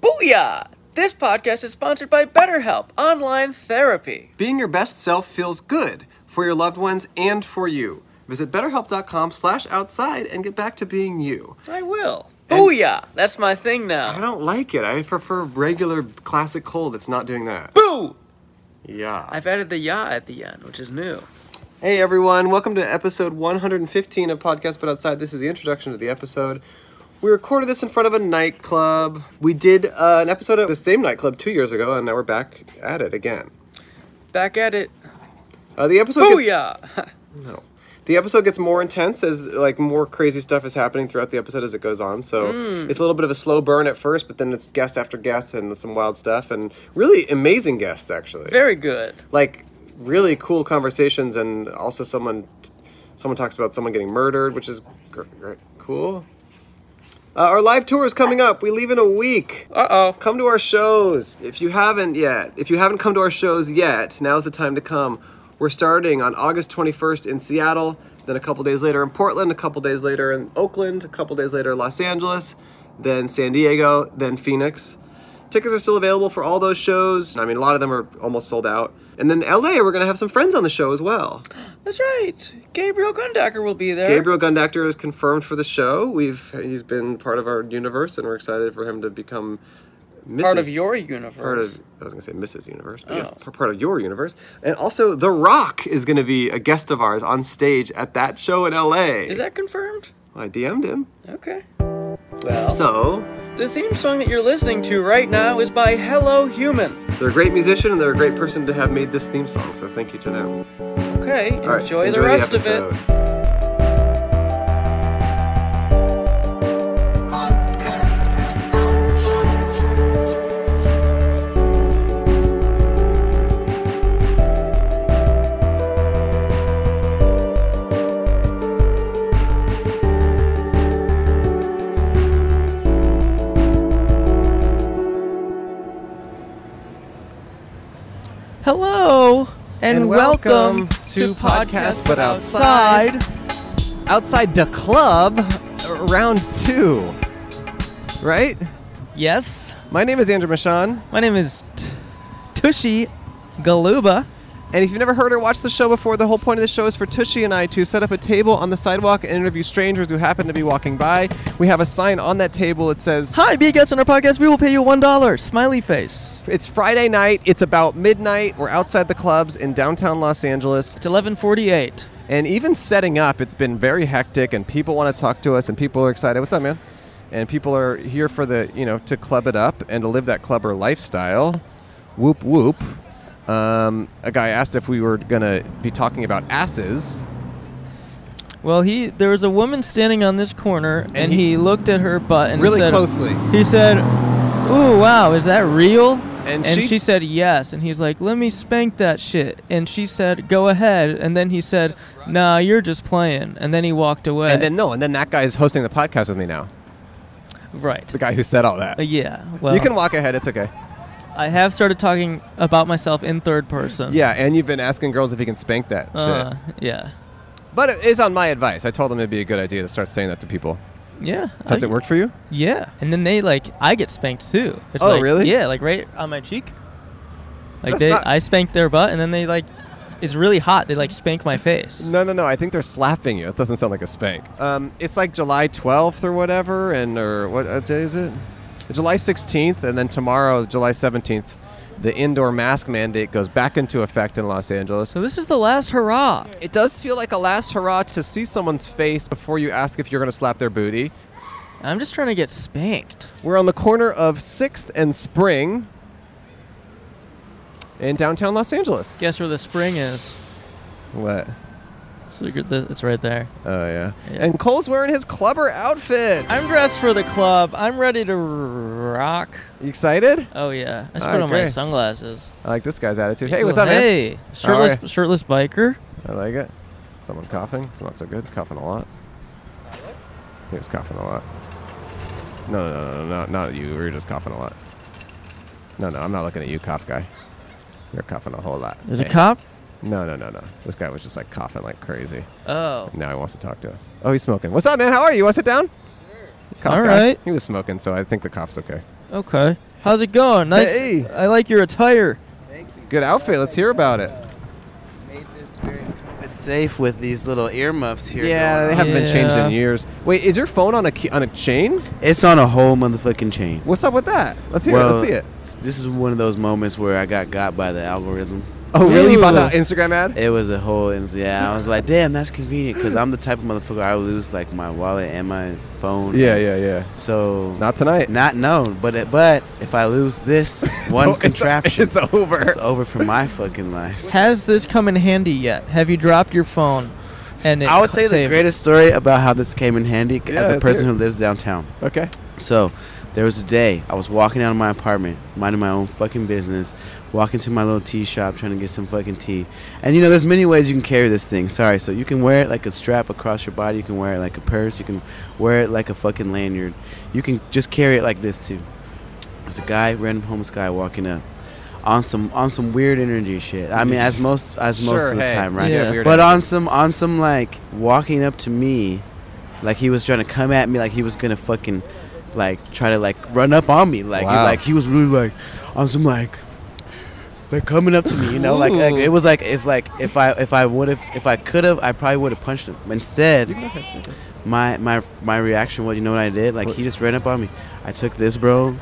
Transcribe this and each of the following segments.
Booyah! This podcast is sponsored by BetterHelp Online Therapy. Being your best self feels good for your loved ones and for you. Visit betterhelp.com slash outside and get back to being you. I will. Booyah! That's my thing I now. don't like it. I prefer regular classic cold. It's not doing that. Boo! Yeah. I've added the ya at the end, which is new. Hey everyone, welcome to episode 115 of Podcast But Outside. This is the introduction to the episode. We recorded this in front of a nightclub. We did uh, an episode at the same nightclub two years ago, and now we're back at it again. Back at it. Uh, the episode. gets- Booyah! No. The episode gets more intense as like more crazy stuff is happening throughout the episode as it goes on. So it's a little bit of a slow burn at first, but then it's guest after guest and some wild stuff and really amazing guests actually. Very good. Like really cool conversations and also someone someone talks about someone getting murdered, which is gr- gr- cool. Uh, our live tour is coming up. We leave in a week. Uh oh. Come to our shows. If you haven't yet, if you haven't come to our shows yet, now's the time to come. We're starting on August 21st in Seattle, then a couple days later in Portland, a couple days later in Oakland, a couple days later Los Angeles, then San Diego, then Phoenix. Tickets are still available for all those shows. I mean, a lot of them are almost sold out. And then LA, we're going to have some friends on the show as well. That's right. Gabriel Gundaker will be there. Gabriel Gundactor is confirmed for the show. We've he's been part of our universe and we're excited for him to become Mrs Part of your universe. part of I was gonna say Mrs. Universe, but yes, Oh. p- part of your universe. And also, The Rock is gonna be a guest of ours on stage at that show in LA. Is that confirmed? I DM'd him. Okay. Well, So the theme song that you're listening to right now is by Hello Human. they're a great musician and they're a great person to have made this theme song. So thank you to them. Okay, All right, enjoy the rest of it. episode. Hello and, And welcome, welcome to to Podcast Podcast But But Outside. outside the club uh, round two right Yes, My name is Andrew Michon, my name is T- Tushy Galuba. and if you've never heard or watched the show before, the whole point of the show is for Tushy and I to set up a table on the sidewalk and interview strangers who happen to be walking by. We have a sign on that table. It says, Hi, be a guest on our podcast. We will pay you one dollar. Smiley face. It's Friday night. It's about midnight. We're outside the clubs in downtown Los Angeles. It's eleven forty-eight. And even setting up, it's been very hectic and people want to talk to us and people are excited. What's up, man? And people are here for the, you know, to club it up and to live that clubber lifestyle. Whoop, whoop. Um, a guy asked if we were going to be talking about asses. Well, he there was a woman standing on this corner, and, he- he, looked at her butt and Really said- closely. He said, "Ooh, wow, is that real?" And And, she- she, said yes, and he's like, "Let me spank that shit." And she said, "Go ahead." And then he said, "Nah, you're just playing." And then he walked away. And then, no, and then that guy is hosting the podcast with me now. right. The guy who said all that. Uh, yeah. Well, you can walk ahead. It's okay. I have started talking about myself in third person. Yeah, and you've been asking girls if you can spank that Uh, shit. yeah. But it is on my advice. I told them it'd be a good idea to start saying that to people. Yeah. Has I- it worked for you? Yeah. And then they like I get spanked too. It's Oh, like- really? Yeah, like right on my cheek. Like That's they not- I spanked their butt and then they like it's really hot. They like spank my face. No, no, no. I think they're slapping you. It doesn't sound like a spank. Um, it's like July 12th or whatever, and or what uh, day is it? July 16th, and then tomorrow, July 17th, the indoor mask mandate goes back into effect in Los Angeles. So this is the last hurrah. It does feel like a last hurrah to see someone's face before you ask if you're going to slap their booty. I'm just trying to get spanked. We're on the corner of 6th and Spring in downtown Los Angeles. Guess where the spring is? What? So you get the- It's right there. Oh, yeah. Yeah. And Cole's wearing his clubber outfit. I'm dressed for the club. I'm ready to rock. You excited? Oh yeah, I just All put right, on my great. sunglasses. I like this guy's attitude. Hey, what's up, man? hey, shirtless right. shirtless biker. I like it. Someone coughing. It's not so good. Coughing a lot. He was coughing a lot. No, no, no, no, no not you. You're just coughing a lot. No, no, I'm not looking at you, cough guy. You're coughing a whole lot. There's a Hey. cop. No, no, no, no. This guy was just like coughing like crazy. Oh, Now he wants to talk to us. Oh, he's smoking. What's up, man? How are you? Want to sit down? Sure. All right. He was smoking, so I think the cough's okay. Okay. How's it going? Nice. Hey. I like your attire. Thank you. Good outfit. Let's hear about it. Made this very it's safe with these little earmuffs here. Yeah, they going on. haven't been changed Yeah. in years. Wait, is your phone on a key, on a chain? It's on a whole motherfucking chain. What's up with that? Let's hear it. Let's see it. s- This is one of those moments where I got got by the algorithm. Oh, really? You bought Ooh. that Instagram ad? It was a whole, ins- yeah. I was like, damn, that's convenient because I'm the type of motherfucker I lose like my wallet and my phone. Yeah, yeah, yeah. So Not tonight. not known, but it, but if I lose this one Oh, it's- contraption, It's, over. it's over for my fucking life. Has this come in handy yet? Have you dropped your phone? And it I would tell you the saved it? greatest story about how this came in handy Yeah, as a let's person hear it. who lives downtown. okay. So, there was a day I was walking out of my apartment, minding my own fucking business, walking to my little tea shop trying to get some fucking tea. And you know, there's many ways you can carry this thing. Sorry, so you can wear it like a strap across your body, you can wear it like a purse, you can wear it like a fucking lanyard. You can just carry it like this too. There's a guy, random homeless guy, walking up on some on some weird energy shit. I mean, as most as most Sure, of the hey. time, right? Yeah. weird But energy. on some on some like walking up to me, like he was trying to come at me, like he was gonna fucking like try to like run up on me, like he- Wow. like he was really like on some like like coming up to me, you know, like, like Ooh. it was like if like if I if I would have if I could have I probably would have punched him. Instead, my my my reaction was you know what I did? Like he just ran up on me. I took this bro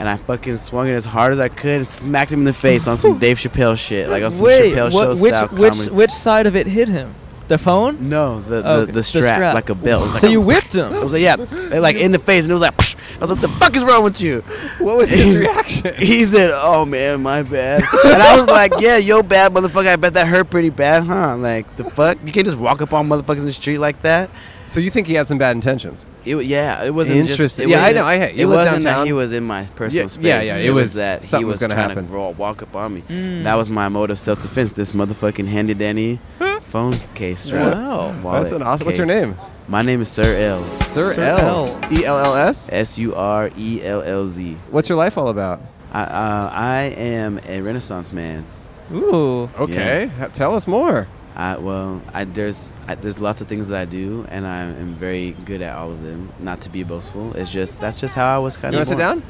and I fucking swung it as hard as I could and smacked him in the face on some Dave Chappelle shit, like on some Wait, Chappelle what- show which style which comedy. which side of it hit him? The phone? no, Oh, the the, Okay, the, the strap, strap. like a belt. It was like so a- you whipped it him. was like yeah, like in the face, and it was like "Psh." I was like, "The fuck is wrong with you?" What was his reaction? He said, "Oh man, my bad," and I was like, "Yeah, yo, bad motherfucker. I bet that hurt pretty bad, huh? Like the fuck, you can't just walk up on motherfuckers in the street like that." So you think he had some bad intentions? It wa- yeah, it wasn't Interesting. Just, it Yeah, I wasn't- know, I- hey, you it live wasn't downtown. that he was in my personal Yeah, space. yeah, yeah, it was- that he something was was gonna trying happen. Hmm. to raw- walk up on me. Mm. That was my mode of self defense. This motherfucking handy dandy phone case strap. Wow. wallet That's an awesome. What's your case. name? My name is Sir Els. Sir, Sir Ells. Ells. E L L S. S U R E L L Z. What's your life all about? I, uh, I am a Renaissance man. Ooh. Okay, ha- tell us more. I, well, I, there's I, there's lots of things that I do, and I am very good at all of them. Not to be boastful, it's just that's just how I was kind You of. want to sit down?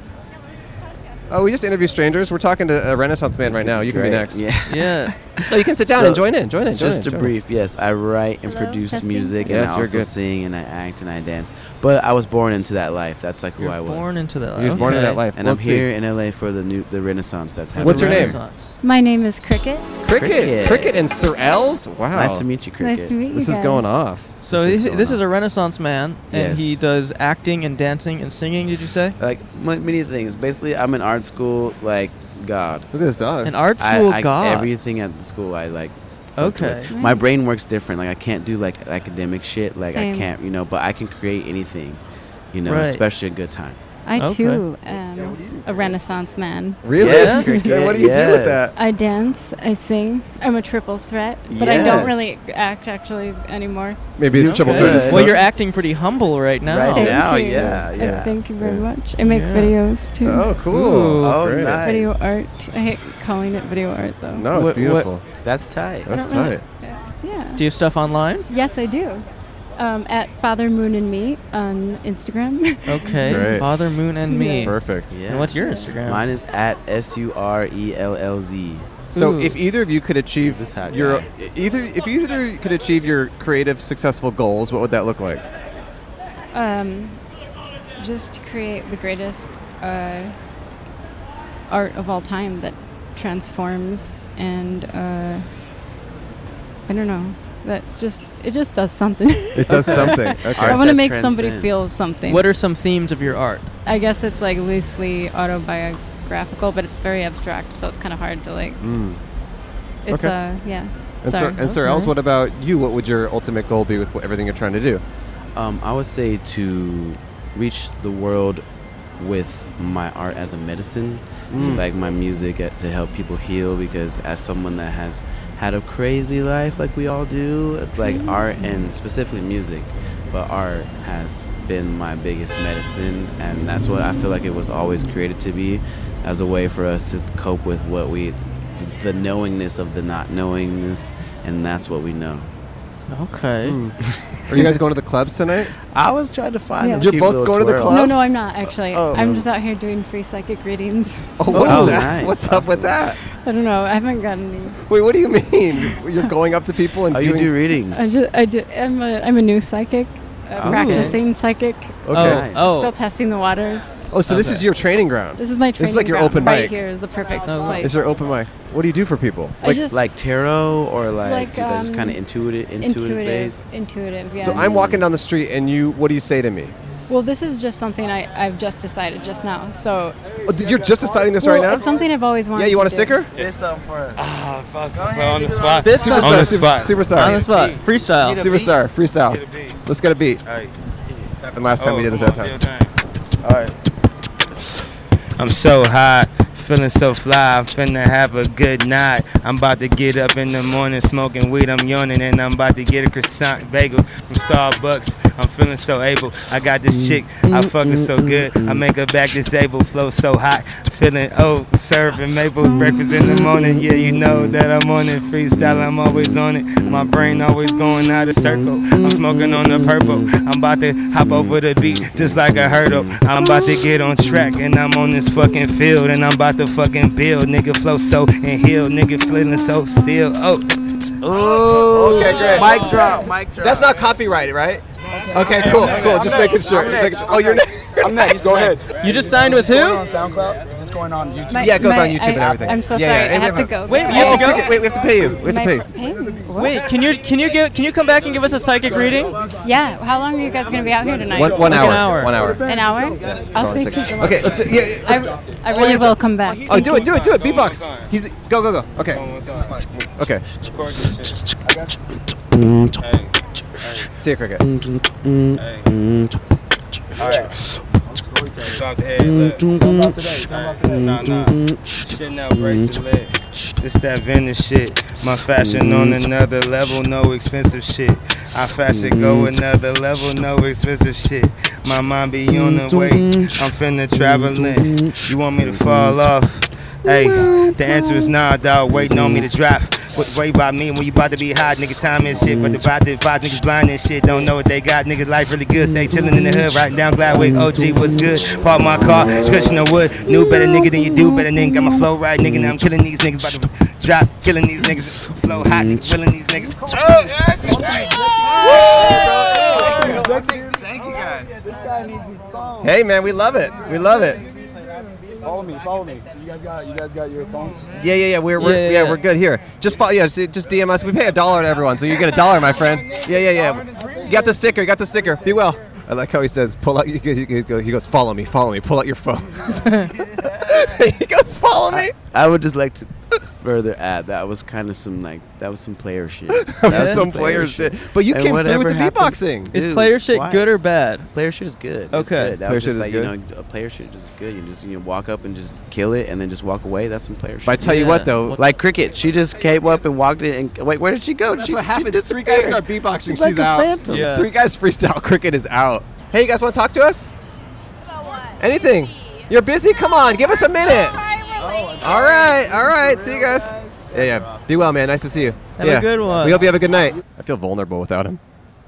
Oh, we just interview strangers. We're talking to a Renaissance man right now. You can be next. Yeah. Yeah. No, you can sit down So, and join in. Join in. Join Just in, to join in. brief, yes, I write and Hello, produce testing, music, Yes, and I you're also good. sing and I act and I dance. But I was born into that life. That's like who You're I was. born into that. He was born into okay. that life. and Let's I'm see. here in LA for the new the Renaissance. That's happening. What's your The name? Renaissance. My name is Cricket. Cricket. Cricket, Cricket. and Sir Els. Wow. Nice to meet you, Cricket. Nice to meet you. This is guys. going off. So This this, is this, going is on. a Renaissance man, and he Yes. does acting and dancing and singing. Did you say? Like m- many things. Basically, I'm in art school. Like God. Look at this dog. An art I- school I, god. Everything at the school, I like. fucked Okay. with. Mm-hmm. My brain works different. Like I can't do like academic shit. Like Same. I can't, you know. But I can create anything, you know. Right. Especially a good time. I Okay. too am a Renaissance man. really? Yes, Yeah? Cricket. And what do you do with that? yes. I dance, I sing. I'm a triple threat, but I don't Yes. really act actually anymore. Maybe the Okay. triple threat is Yeah. Well, you're acting pretty humble right now. Right Thank now, you. yeah, Uh, yeah. Thank you very Yeah. much. I make Yeah. videos too. Oh, cool. Ooh. Oh, Great. nice. Video art. I hate calling it video art though. No, it's What- what- beautiful. That's tight. That's I don't really- tight. Yeah. Do you have stuff online? yes, I do. Um, at Father Moon and Me on Instagram. Okay. Great. Father Moon and me. Perfect. Yeah. And what's your Instagram? Mine is at S U R E L L Z. So, Ooh. if either of you could achieve This hot your guy. either if either of you could achieve your creative successful goals, what would that look like? um, just to create the greatest uh, art of all time that transforms and uh, I don't know that just it just does something. It does something. Okay. I Art want to that make somebody transcends. feel something. What are some themes of your art? I guess it's like loosely autobiographical, but it's very abstract, so it's kind of hard to like. Mm. It's Okay. uh yeah. And, sir, Sorry. and sir, Els, what about you? What would your ultimate goal be with wh- everything you're trying to do? Um, I would say to reach the world with my art as a medicine, to like my music uh, to help people heal. Because as someone that has had a crazy life, like we all do, like art and specifically music, but art has been my biggest medicine, and that's what I feel like it was always created to be, as a way for us to cope with what we, the knowingness of the not knowingness, and that's what we know. Okay. Hmm. Are you guys going to the clubs tonight? I was trying to find. Yeah. a You're cute both little going to the twirl. club? No, no, I'm not actually. Oh. I'm just out here doing free psychic readings. Oh, what is Oh, that? nice. What's up with Awesome. that? I don't know. I haven't gotten any. Wait, what do you mean? You're going up to people and Oh, you doing do readings. I just, I do, I'm a, I'm a new psychic, a Oh. Uh, practicing psychic. Okay. Oh, Still oh. testing the waters. Oh, so this Okay. is your training ground. This is my training. This is like your ground. open right mic. here is the perfect Oh, wow. place. Is there open mic? What do you do for people? I just like tarot or like, Like, did I just um, kind of intuitive, intuitive, intuitive, base? intuitive. Yeah. so I'm walking down the street and you. What do you say to me? well, this is just something I, I've just decided just now. So Oh, th- you're just deciding this well, right it's now. something I've always wanted. Yeah, you want want a sticker? Ah, fuck. We're on the spot. This Superstar, on the super- spot. Superstar. On the spot. Freestyle. Superstar. Get a Freestyle. beat. Let's get a beat. All right. And last time we did this that time. Oh, I'm so hot, feeling so fly. I'm finna have a good night. I'm about to get up in the morning, smoking weed. I'm yawning, and I'm about to get a croissant bagel from Starbucks. I'm feeling so able. I got this chick, I fuck her so good. I make her back disabled, flow so hot. Feeling oh, serving maple breakfast in the morning. Yeah, you know that I'm on it. Freestyle, I'm always on it. My brain always going out of circle. I'm smoking on the purple. I'm about to hop over the beat just like a hurdle. I'm about to get on track and I'm on this fucking field and I'm about to fucking build. Nigga flow so and heal. Nigga feeling so still. Oh. Okay, great. Mic drop. Mic drop. That's not copyrighted, right? Okay, cool, cool. Just making sure. Just making- oh, you're next. I'm next. Go ahead. You just signed with Going who? on SoundCloud? Is this going on YouTube? My, Yeah, it goes my- on YouTube and I- everything. I'm so Yeah, yeah, sorry. and I we have to have go. a- Wait, I you Oh, have to go? okay, wait, we have to pay you. We have to My pay fr- you. hey, what? Wait, can you can you give can you come back and give us a psychic reading? Yeah. How long are you guys gonna be out here tonight? One, one Like an hour. hour. One hour. An hour? Oh, I'll think. of it. Okay, let's do, yeah, yeah. I, I really will come back. Oh, do it, do it, do it. Go one Beatbox. time. He's go, go, go. Okay, okay. See you, cricket. Nah, nah. Shit now bracelet. It's that vintage shit. My fashion on another level, no expensive shit. I fashion go another level, no expensive shit. My mind be on the way. I'm finna traveling. You want me to fall off? Hey, the answer is nah, dog. Waiting on me to drop. What worry about me when you about to be hot, nigga? Time and shit, but the vibe, the vibe, niggas blind and shit. Don't know what they got, nigga. Life really good. Stay chillin' in the hood, right down Gladwick. OG, what's good? Park my car, cushion the wood. Knew better, nigga, than you do better, nigga. Got my flow right, nigga. Now I'm killing these niggas, about to drop, killing these niggas. Flow hot, nigga, killing these niggas. Oh, yes, it's great. Thank you guys. This guy needs his song. Hey, man, we love it. We love it. Follow me. Follow me. You guys got. You guys got your phones. Yeah, yeah, yeah. We're, we're yeah, Yeah, yeah, yeah. we're good here. Just follow, yeah, so just DM us. We pay a dollar to everyone, so you get a dollar, my friend. Yeah, yeah, yeah. You got the sticker. You got the sticker. Be well. I like how he says, "Pull out." He goes, he goes- he goes, "Follow me, follow me. Pull out your phone." he goes, "Follow me." I would just like to further add that was kind of some like that was some player shit. That was some player shit. But you And came through with whatever the happened- beatboxing. Is Dude, player shit why? good or bad? Player shit is good. It's Okay. good. That Player was shit just is like you good? know, a player shit is good. You just you know, walk up and just kill it, and then just walk away. That's some player shit. But I tell you what, Yeah. though, like cricket, she just came up and walked in. And wait, where did she go? she, That's what she happens. Three guys start disappeared. beatboxing. She's, She's like a out. phantom. Yeah. Three guys freestyle. Cricket is out. Hey, you guys want to talk to us? Anything? You're busy. Come on, give us a minute. All right, all right. See you guys. Yeah, yeah. Be well, man. Nice to see you. Have a yeah. good one. We hope you have a good night. I feel vulnerable without him.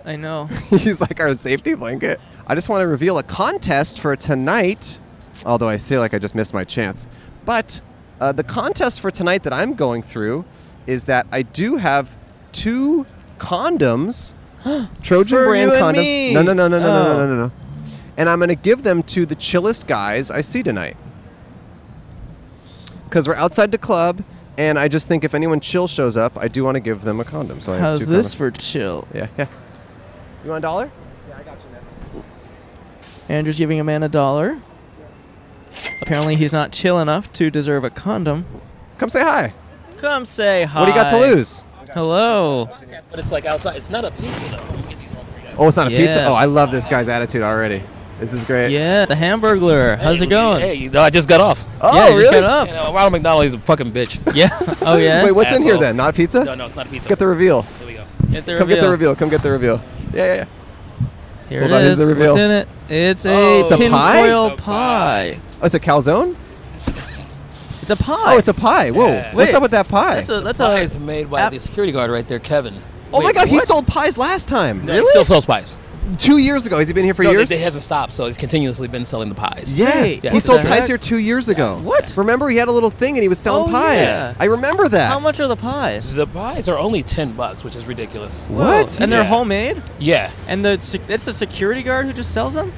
I know. He's like our safety blanket. I just want to reveal a contest for tonight, although I feel like I just missed my chance. But uh, the contest for tonight that I'm going through is that I do have two condoms, Trojan For brand you and condoms. me. No, no, no, no, no, no, Oh. no, no, no. And I'm going to give them to the chillest guys I see tonight. Because we're outside the club, and I just think if anyone chill shows up, I do want to give them a condom. So I have How's two this condoms. for chill? Yeah, yeah. You want a dollar? Andrew's giving a man a dollar. Apparently, he's not chill enough to deserve a condom. Come say hi. Come say hi. What do you got to lose? Hello. But it's like outside. It's not a pizza though. You get these one for you. Oh, it's not a pizza. Yeah. Oh, I love this guy's attitude already. This is great. Yeah, the Hamburglar. How's it going? Hey, you know, I just got off. Oh, yeah, you really? just got You off. know, Ronald McDonald is a fucking bitch. Yeah. Oh yeah. Wait, what's in here Asshole. then? Not a pizza? No, no, it's not a pizza. Get the reveal. Here we go. Get the Come get the reveal. Come get the reveal. Yeah, yeah, yeah. Here Hold it on, here's is. the reveal. What's in it? It's Oh. a It's a pie? tinfoil It's a pie. pie. Oh, it's a calzone? It's a pie. Oh, it's a pie. Whoa. Yeah. What's Wait. up with that pie? That's a that's Pie a is made by app- the security guard right there, Kevin. Oh my Wait, God, he what? sold pies last time. No, he still sells pies. Two years ago. Has he been here for No, years? It hasn't stopped, so he's continuously been selling the pies. Yes, Hey, he what sold the pies heck? here two years ago. What? Remember, he had a little thing and he was selling Oh, pies. yeah. I remember that. How much are the pies? The pies are only ten bucks, which is ridiculous. What? And they're Yeah. homemade? Yeah, And the sec- it's the security guard who just sells them?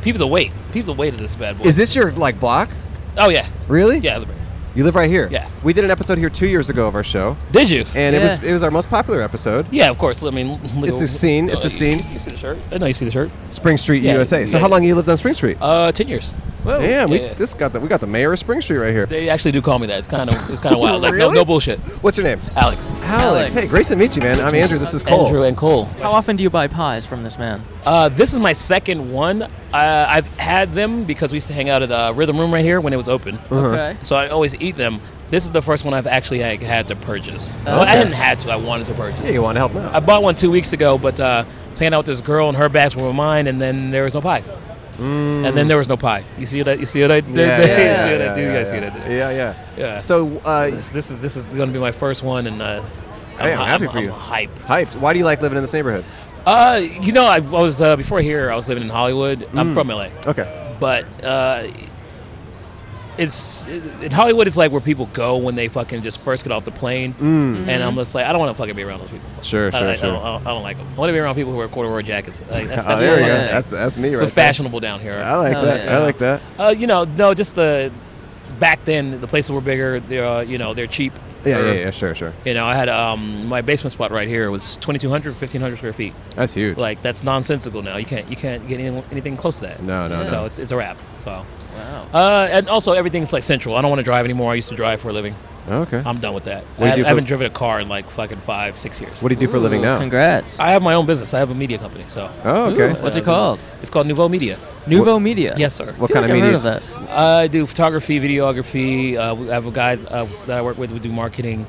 people that wait, people that wait at this bad boy. Is this your like block? oh yeah, Really? yeah. Liberty. You live right here. Yeah. We did an episode here two years ago of our show, Did you? and it was Yeah. it was our most popular episode. Yeah, of course. I mean, It's a scene, it's a scene. You see the shirt? I know you see the shirt. Spring Street, Yeah, USA. So yeah, how yeah. long you lived on Spring Street? Uh, ten years. Whoa. Damn, we yeah. this got the we got the mayor of Spring Street right here. They actually do call me that. It's kind of it's kind of wild. Like no, Really? no bullshit. What's your name? Alex, Alex. Alex. Hey, great to meet you, man. I'm Andrew. This is Cole. Andrew, and Cole. How often do you buy pies from this man? Uh, this is my second one. Uh, I've had them because we used to hang out at uh, Rhythm Room right here when it was open. Uh-huh. Okay. So I always eat them. This is the first one I've actually like, had to purchase. Well, I Okay. didn't have to. I wanted to purchase. Yeah, you want to help now? I bought one two weeks ago, but uh, I was hanging out with this girl and her bags were mine, and then there was no pie. Mm. And then there was no pie. You see that? You see what I did? there? you see what I did? you guys see what I did? Yeah, yeah. Yeah. So, uh, This, this is this is going to be my first one, and uh, Hey, I'm happy for you. hype. hyped. Why do you like living in this neighborhood? Uh, you know, I, I was uh, before here. I was living in Hollywood. I'm from LA, Mm. Okay. but uh, it's in Hollywood. It's like where people go when they fucking just first get off the plane, and I'm just like, I don't want to fucking be around those people. Mm. Mm-hmm. Sure, I, sure, I, sure. I don't, I, don't, I don't like them. I want to be around people who wear corduroy jackets. Like, that's, that's oh, there what you I go. like. That's that's me right We're fashionable down here. There. I like Oh, that. yeah. I like that. Uh, you know, no, just the back then the places were bigger. They're uh, you know they're cheap. Yeah, Or, yeah, yeah. Sure, sure. You know, I had um, my basement spot right here was 2,200, 1,500 square feet. That's huge. Like that's nonsensical now. You can't you can't get any, anything close to that. No, no, So no. it's, it's a wrap. So. Wow. Uh, and also everything's like central. I don't want to drive anymore. I used to drive for a living. okay. I'm done with that. do you I, have, do for- I haven't driven a car in like fucking five, six years. What do you do for a living now? Congrats. I have my own business. I have a media company. So. Oh, okay. Ooh, what's Uh, it called? It's called Nouveau Media. Nouveau Media. Yes, sir. What I feel kind like of I've media? heard of that. I do photography, videography. Uh, we- I have a guy uh, that I work with. We do marketing.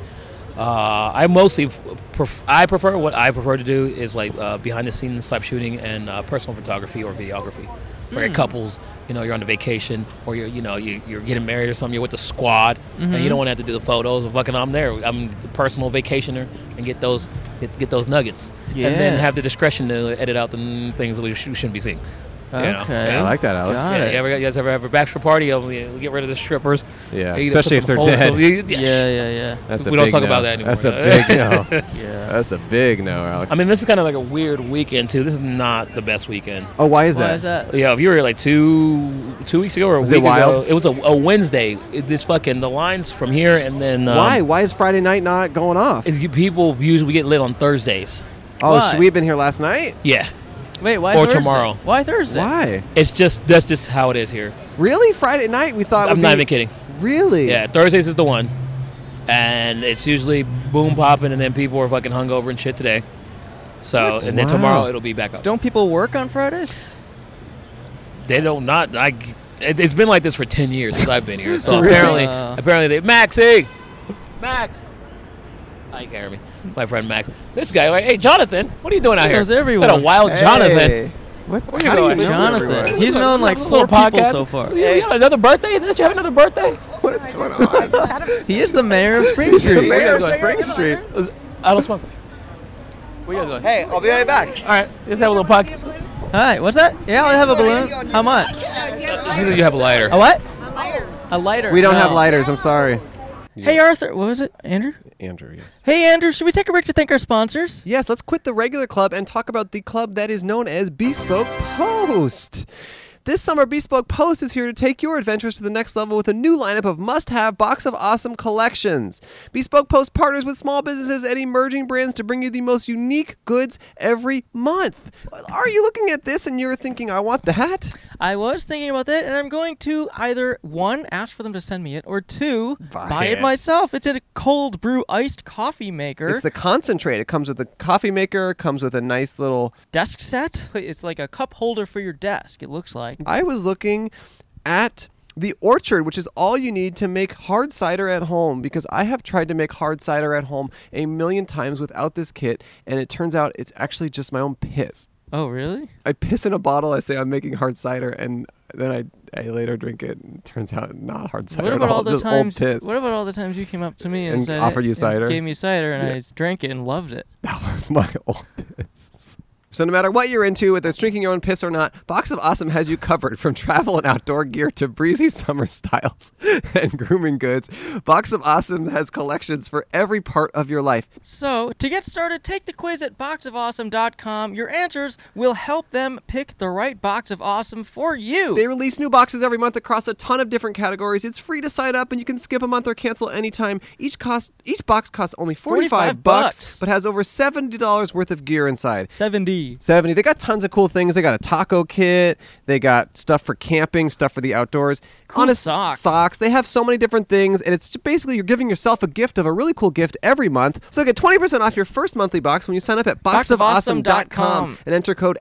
Uh, I mostly pref- I prefer what I prefer to do is like uh, behind the scenes type shooting and uh, personal photography or videography. For your couples, you know, you're on a vacation or you're you know you, you're getting married or something. You're with the squad and you don't want to have to do the photos. Well, fucking, I'm there. I'm the personal vacationer and get those get, get those nuggets and then Yeah. have the discretion to edit out the mm, things that we sh- shouldn't be seeing. You know? Okay. Yeah. I like that, Alex. Got Yeah, it. you, ever, you guys ever have a bachelor party? Oh, we we get rid of the strippers. Yeah, You gotta put especially if some they're holes dead. so- you- Yeah, yeah, yeah, That's We a don't big talk no. about that That's a anymore. big yeah. no. Yeah. That's a big no, Alex. I mean, this is kind of like a weird weekend too. This is not the best weekend. oh, why is that? Why is that? Yeah, if you were here, like two two weeks ago or a Was it week ago, wild? it was a, a Wednesday. It- this fucking the lines from here and then um, Why? Why is Friday night not going off? is you- people usually get lit on Thursdays. Oh, Why? should we have been here last night? Yeah, Wait, why Or Thursday? tomorrow. Why Thursday? Why? it's just that's just how it is here. Really? Friday night? We thought. I'm would not be- even kidding. Really? Yeah, Thursdays is the one, and it's usually boom popping, and then people are fucking hungover and shit today. So and then Wow. tomorrow it'll be back up. Don't people work on Fridays? they don't not I. It, it's been like this for ten years since I've been here. So Really? apparently, Wow. apparently they Maxie, Max. I can't hear me. My friend Max. This guy, like, hey Jonathan, what are you doing out He here? knows everyone. Got a wild Hey. Jonathan. What's you how do going? you know Jonathan. everyone? He's known like Little four people podcast. so far. You you got another birthday? Did you have another birthday? What is going on? He is the mayor of Spring the Street. mayor of Spring Street. I don't smoke. What you guys doing? Hey, I'll be right back. All right, let's have a little podcast. Hi, what's that? Yeah, I have a balloon. How much? She said you have a lighter. A what? A lighter. We don't No. have lighters. I'm sorry. Hey Arthur, what was it, Andrew? Andrew, yes. Hey Andrew, should we take a break to thank our sponsors? Yes, let's quit the regular club and talk about the club that is known as Bespoke Post. This summer, Bespoke Post is here to take your adventures to the next level with a new lineup of must have box of awesome collections. Bespoke Post partners with small businesses and emerging brands to bring you the most unique goods every month. Are you looking at this and you're thinking, I want that? I was thinking about that, and I'm going to either one, ask for them to send me it, or two, buy, it myself. It's in a cold brew iced coffee maker It's the concentrate. It comes with a coffee maker, it comes with a nice little desk set. It's like a cup holder for your desk. It looks like. I was looking at the orchard, which is all you need to make hard cider at home, because I have tried to make hard cider at home a million times without this kit, and it turns out it's actually just my own piss. Oh, really? I piss in a bottle. I say I'm making hard cider, and then I, I later drink it. And it turns out not hard cider What at about all. all the just times? old tits. What about all the times you came up to me and, And said offered you and cider? gave me cider, and Yeah. I drank it and loved it. That was my old piss. So no matter what you're into, whether it's drinking your own piss or not, Box of Awesome has you covered from travel and outdoor gear to breezy summer styles and grooming goods. Box of Awesome has collections for every part of your life. So, to get started, take the quiz at boxofawesome.com. Your answers will help them pick the right box of awesome for you. They release new boxes every month across a ton of different categories. It's free to sign up and you can skip a month or cancel anytime. Each cost each box costs only 45, 45 bucks, bucks. but has over $70 worth of gear inside. 7D. 70. They got tons of cool things. They got a taco kit. They got stuff for camping, stuff for the outdoors. Cool Honest- socks. Socks. They have so many different things, and it's basically you're giving yourself a gift of a really cool gift every month. So get 20% off your first monthly box when you sign up at boxofawesome.com boxofawesome.com and enter code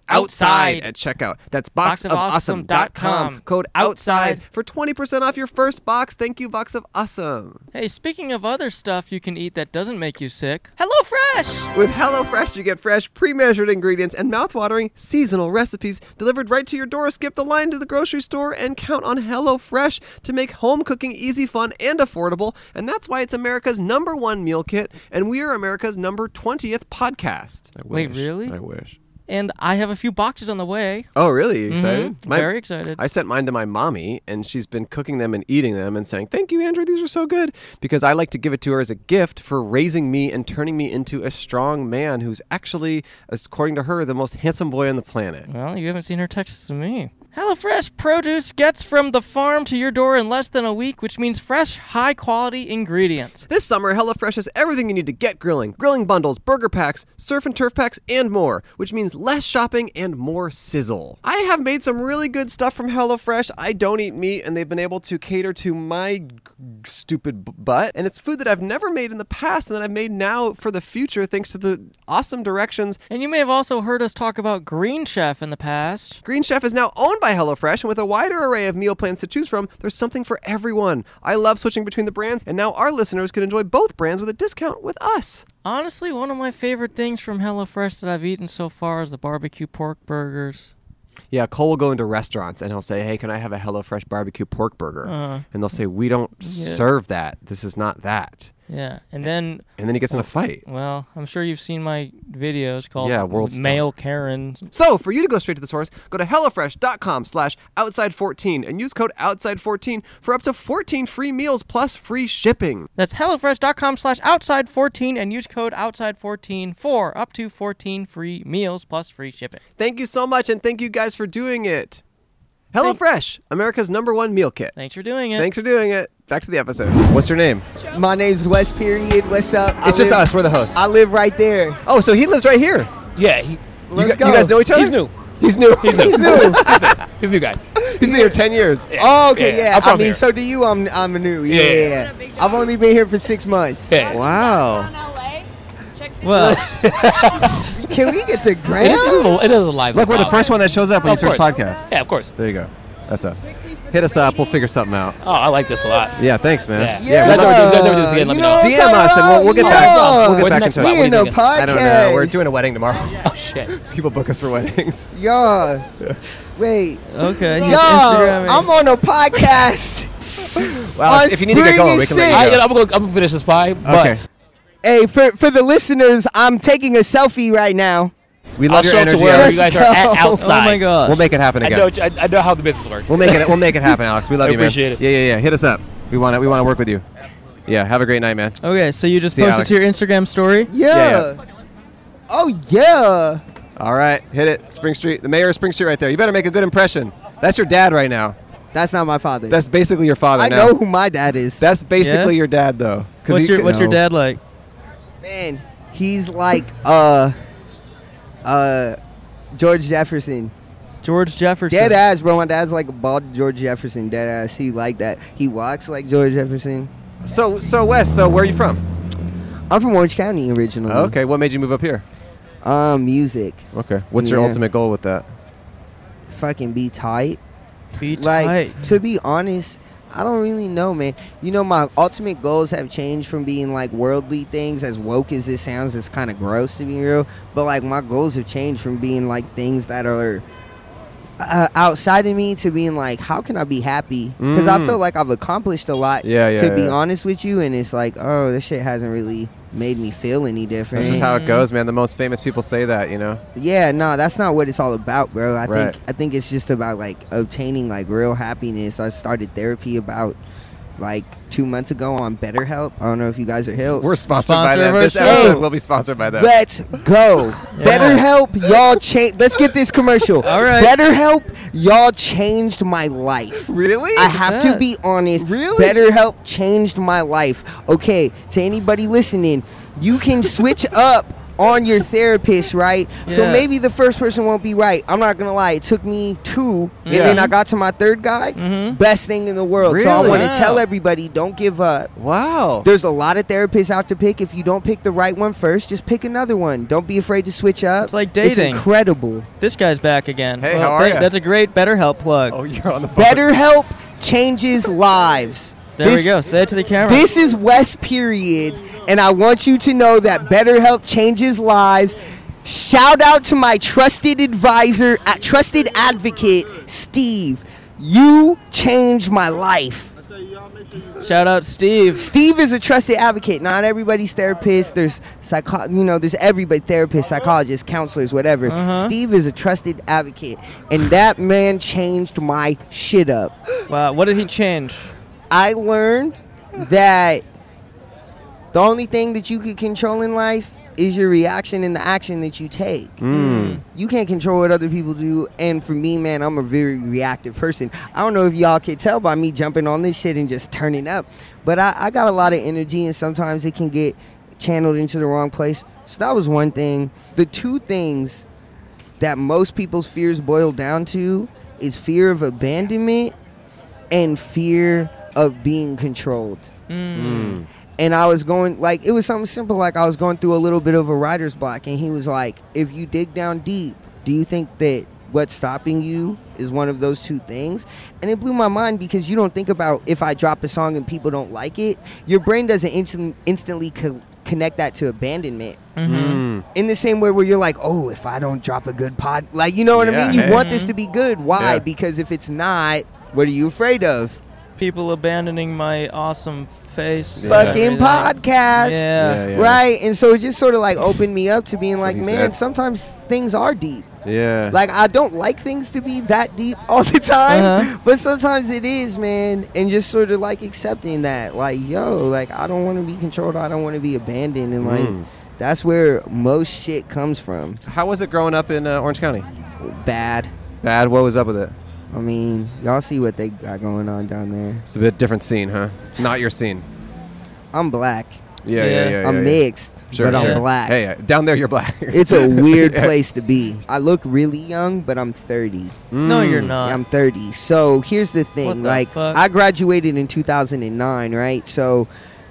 Outside. outside, at checkout. Oh, That's Boxofawesome.com. boxofawesome.com. Code outside Outside. for 20% off your first box. Thank you, Box of Awesome. Hey, speaking of other stuff you can eat that doesn't make you sick, Oh, HelloFresh! With HelloFresh, you get fresh, pre-measured ingredients and mouth-watering seasonal recipes delivered right to your door. Skip the line to the grocery store and count on HelloFresh to make home cooking easy, fun, and affordable. And that's why it's America's number one meal kit, and we are America's number twentieth podcast. I Wait, wish. really? I wish. And I have a few boxes on the way. Oh, really? You excited? Mhm. Very excited. I sent mine to my mommy, and she's been cooking them and eating them and saying, Thank you, Andrew. These are so good. Because I like to give it to her as a gift for raising me and turning me into a strong man who's actually, according to her, the most handsome boy on the planet. Well, you haven't seen her texts to me. HelloFresh produce gets from the farm to your door in less than a week, which means fresh, high quality ingredients. This summer, HelloFresh has everything you need to get grilling grilling bundles, burger packs, surf and turf packs, and more, which means less shopping and more sizzle. I have made some really good stuff from HelloFresh. I don't eat meat, and they've been able to cater to my g- stupid b- butt. And it's food that I've never made in the past and that I've made now for the future thanks to the awesome directions And you may have also heard us talk about Green Chef in the past. Green Chef is now owned by HelloFresh, and with a wider array of meal plans to choose from, there's something for everyone. I love switching between the brands, and now our listeners can enjoy both brands with a discount with us. Honestly, one of my favorite things from HelloFresh that I've eaten so far is the barbecue pork burgers. Yeah, Cole will go into restaurants and he'll say, "Hey, can I have a HelloFresh barbecue pork burger?" Uh-huh. and they'll say, "We don't serve that. This is not that." Yeah, and then And then he gets in a fight. well, I'm sure you've seen my videos called Yeah, World Star. Male Karen. So, for you to go straight to the source, go to HelloFresh.com slash outside14 and use code outside14 for up to 14 free meals plus free shipping. That's HelloFresh.com slash outside14 and use code outside14 for up to 14 free meals plus free shipping. Thank you so much, and thank you guys for doing it. HelloFresh, America's number one meal kit. Thanks for doing it. Thanks for doing it. Back to the episode. What's your name? My name's West Period. What's up? I It's just live- us. We're the hosts. I live right there. Oh, so he lives right here. Yeah, he, Let's you, gu- go. you guys know each other? he's new. He's new. He's new. He's new. He's a new guy. He's been here 10 years. oh, okay, Yeah, yeah. I'm I from mean, here. so do you. I'm I'm new. Yeah, Yeah. yeah, yeah. I've only been here for six months. Yeah. Wow. Downtown LA. Check this Well, out. Can we get the It is, it gram? is a, it is a live. Oh, Look, we're the podcast. first one that shows up when you Of search course. podcast. Yeah, of course. There you go. That's us. Hit us up. We'll figure something out. Oh, I like this a lot. Yeah, thanks, man. Yeah. Yeah, we'll that's talk- do- that's what we do again, let me You know. what I'm DM talking us and we'll, we'll get about? back. We'll Where's get the back in next touch. one? We in a podcast. I don't know. We're doing a wedding tomorrow. Oh shit. People book us for weddings. Yeah. Wait. Okay. Yo, I'm on a podcast. Wow. On if you need to get going, we can Spring and let I, you am go. gonna, I'm gonna finish this pie. But Okay. hey, for for the listeners, I'm taking a selfie right now. We I'll love your show up to energy. where Alex. you guys are at Let's go. outside. gosh. We'll make it happen I know, again. I, I know how the business works. We'll make it. We'll make it happen, Alex. We love I you, man. appreciate it. Yeah, yeah, yeah. Hit us up. We want to. We want to work with you. Yeah. Have a great night, man. Okay, so you just See, posted Alex. to your Instagram story? Yeah. Oh yeah. All right. Hit it. Spring Street. The mayor of Spring Street, right there. You better make a good impression. That's your dad right now. That's not my father. That's basically your father I now. know who my dad is. That's basically Yeah? your dad, though. 'Cause What's he- your What's your no. dad like? Man, he's like uh uh George Jefferson. George Jefferson. Dead ass, bro. My dad's like a bald George Jefferson. Dead ass. He like that. He walks like George Jefferson. So, so Wes. So, where are you from? I'm from Orange County originally. Okay. What made you move up here? Um, Mm-hmm. music. Okay. What's your Yeah. ultimate goal with that? Fucking be tight. Be Like tight. to be honest, I don't really know, man. You know, my ultimate goals have changed from being like worldly things, as woke as it sounds, it's kind of gross to be real. But like, my goals have changed from being like things that are uh, outside of me to being like, how can I be happy? Because I Mm. feel like I've accomplished a lot. Yeah, yeah, To be yeah. honest with you, and it's like, oh, this shit hasn't really made me feel any different. That's just Mm-hmm. how it goes, man. The most famous people say that, you know. Yeah, no, that's not what it's all about, bro. I Right. think I think it's just about like obtaining like real happiness. I started therapy about like two months ago on BetterHelp. I don't know if you guys are helped. We're sponsored by them. This Sponsor episode Hey, will be sponsored by them. Let's go. Yeah. BetterHelp, y'all change. Let's get this commercial. All right. BetterHelp, y'all changed my life. Really? I have to that. be honest. Really? BetterHelp changed my life. Okay, to anybody listening, you can switch up on your therapist, right? So Yeah. maybe the first person won't be right. I'm not gonna lie. It took me two, and Yeah. then I got to my third guy. Best thing in the world. So I Really? want to Mm-hmm. Wow. tell everybody: don't give up. Wow. There's a lot of therapists out to pick. If you don't pick the right one first, just pick another one. Don't be afraid to switch up. It's like It's dating. incredible. This guy's back again. Hey, how are thank- ya? That's a great BetterHelp plug. Oh, you're on the phone. BetterHelp changes lives. there This- we go. Say it to the camera. This is West Period, and I want you to know that BetterHelp changes lives. Shout out to my trusted advisor, uh, trusted advocate, Steve. You changed my life. Shout out Steve. Steve is a trusted advocate. Not everybody's therapist. There's psycho, you know, there's everybody therapist, psychologist, counselors, whatever. Uh-huh. Steve is a trusted advocate, and that man changed my shit up. Wow, what did he change? I learned that the only thing that you can control in life is your reaction and the action that you take. Hmm. You can't control what other people do. And for me, man, I'm a very reactive person. I don't know if y'all can tell by me jumping on this shit and just turning up, but I, I got a lot of energy, and sometimes it can get channeled into the wrong place. So that was one thing. The two things that most people's fears boil down to is fear of abandonment and fear of being controlled. And I was going like it was something simple like I was going through a little bit of a writer's block and he was like, "If you dig down deep, do you think that what's stopping you is one of those two things?" And it blew my mind because you don't think about if I drop a song and people don't like it, your brain doesn't instant, instantly co- connect that to abandonment Mm. in the same way where you're like, oh, if I don't drop a good pod, like you know what I Yeah, mean. You hey. want this to be good. Why? Yeah. Because if it's not, what are you afraid of? People abandoning my awesome face. and Yeah. Fucking everything. podcast. Yeah. Yeah, yeah. Right, and so it just sort of like opened me up to being like, he man, said. sometimes things are deep. Yeah. Like I don't like things to be that deep all the time, Uh-huh. but sometimes it is, man. And just sort of like accepting that, like, yo, like I don't want to be controlled. I don't want to be abandoned, and like Mm. that's where most shit comes from. How was it growing up in uh, Orange County? Bad. Bad. What was up with it? I mean, y'all see what they got going on down there. It's a bit different scene, huh? Not your scene. I'm black. Yeah, yeah, Yeah. yeah. yeah, I'm yeah. mixed, Sure, but sure. I'm black. Hey, uh, down there, you're black. It's a weird place to be. I look really young, but I'm 30. No, you're Mm. not. I'm 30. So here's the thing. What the like, fuck? I graduated in 2009, right? So,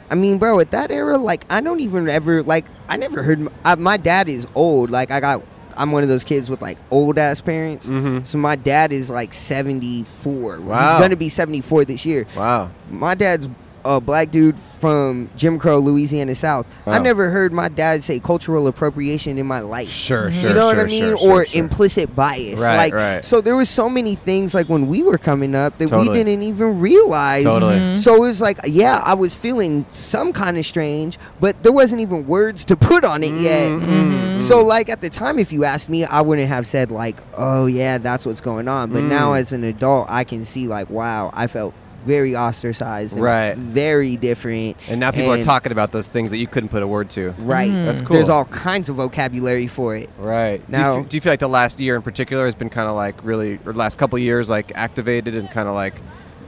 I mean, bro, at that era, like, I don't even ever, like, I never heard, m I my dad is old. Like, I got, I'm one of those kids with, like, old ass parents. Mm-hmm. Mhm. So my dad is, like, 74. Wow. He's going to be 74 this year. Wow. my dad's a black dude from Jim Crow, Louisiana South. I Wow. never heard my dad say cultural appropriation in my life. Sure, sure. you know what sure, I mean? sure, sure, or sure. implicit bias. Right, like right. so there was so many things like when we were coming up that we Totally. didn't even realize. Totally. Mhm. So it was like, yeah, I was feeling some kind of strange, but there wasn't even words to put on it yet. Mm-hmm. Mhm. So like at the time, if you asked me, I wouldn't have said like, "Oh yeah, that's what's going on." But now Mm. as an adult, I can see like, wow, I felt very ostracized, and Right. Very different. And now people And- are talking about those things that you couldn't put a word to. Right. Mm. That's There's all cool. kinds of vocabulary for it. Right. do, Now- you, f- do you feel like the last year in particular has been kind of like really, or the last couple years, like activated and kind of like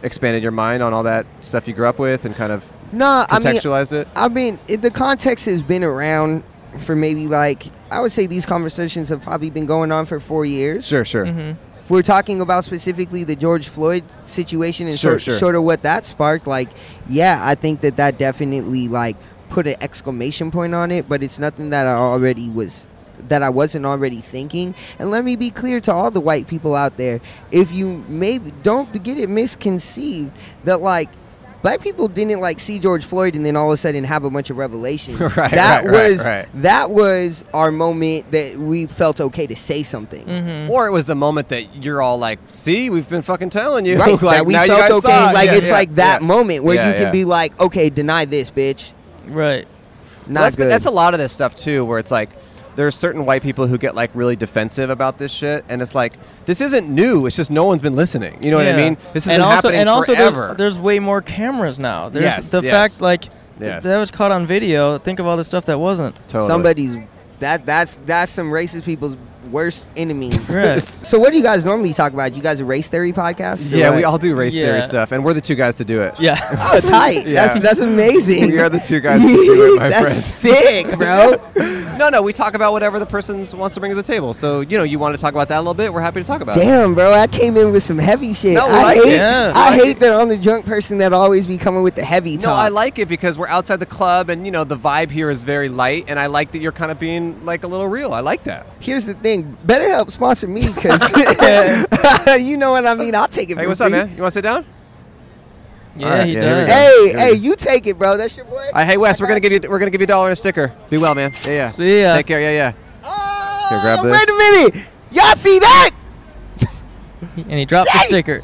expanded your mind on all that stuff you grew up with and kind of No, I mean, contextualized it? I mean, it, the context has been around for maybe like I would say these conversations have probably been going on for four years. Sure, sure. If we're talking about specifically the George Floyd situation and Sure, sort, sure. sort of what that sparked, like, yeah, I think that that definitely like put an exclamation point on it, but it's nothing that I already was that I wasn't already thinking. And let me be clear to all the white people out there: if you maybe don't get it misconceived that like black people didn't like see George Floyd and then all of a sudden have a bunch of revelations. Right, that right, right, was right. that was our moment that we felt okay to say something. Mm-hmm. Or it was the moment that you're all like, "See, we've been fucking telling you." Right, like, that we now you felt guys okay. saw it. Like Yeah, it's yeah, like that yeah. moment where Yeah, you can yeah. be like, okay, deny this, bitch. Right. Not that's, good. that's a lot of this stuff too, where it's like there's certain white people who get like really defensive about this shit, and it's like this isn't new. It's just no one's been listening. You know Yeah. what I mean? This isn't and also, happening and also forever. There's, there's way more cameras now. There's Yes, the yes. fact like th- Yes. that was caught on video. Think of all the stuff that wasn't. Totally. Somebody's that that's that's some racist people's worst enemy. Right. so what do you guys normally talk about? You guys a race theory podcast? or yeah, what? we all do race theory Yeah. stuff, and we're the two guys to do it. yeah. Oh, tight. Yeah. That's that's amazing. We are the two guys to do it, my that's friend. sick, bro. No, no, we talk about whatever the person wants to bring to the table. So, you know, you want to talk about that a little bit? We're happy to talk about it. Damn, bro, I came in with some heavy shit. No, I like hate, it. Yeah. I Like hate that I'm the drunk person that always be coming with the heavy No, talk. I like it because we're outside the club and, you know, the vibe here is very light. And I like that you're kind of being like a little real. I like that. Here's the thing: BetterHelp sponsor me because you know what I mean. I'll take it. Hey, for what's up, free. man? You want to sit down? Yeah, Alright, he yeah, here we does. go. Hey, Here we hey, go. you take it, bro. That's your boy. All right, hey, Wes, we're gonna give you we're gonna give you a dollar and a sticker. Be well, man. Yeah, yeah. See ya. Take care. Yeah, yeah. Oh, Here, grab this. Wait a minute. Y'all see that? and he dropped the Yay! sticker.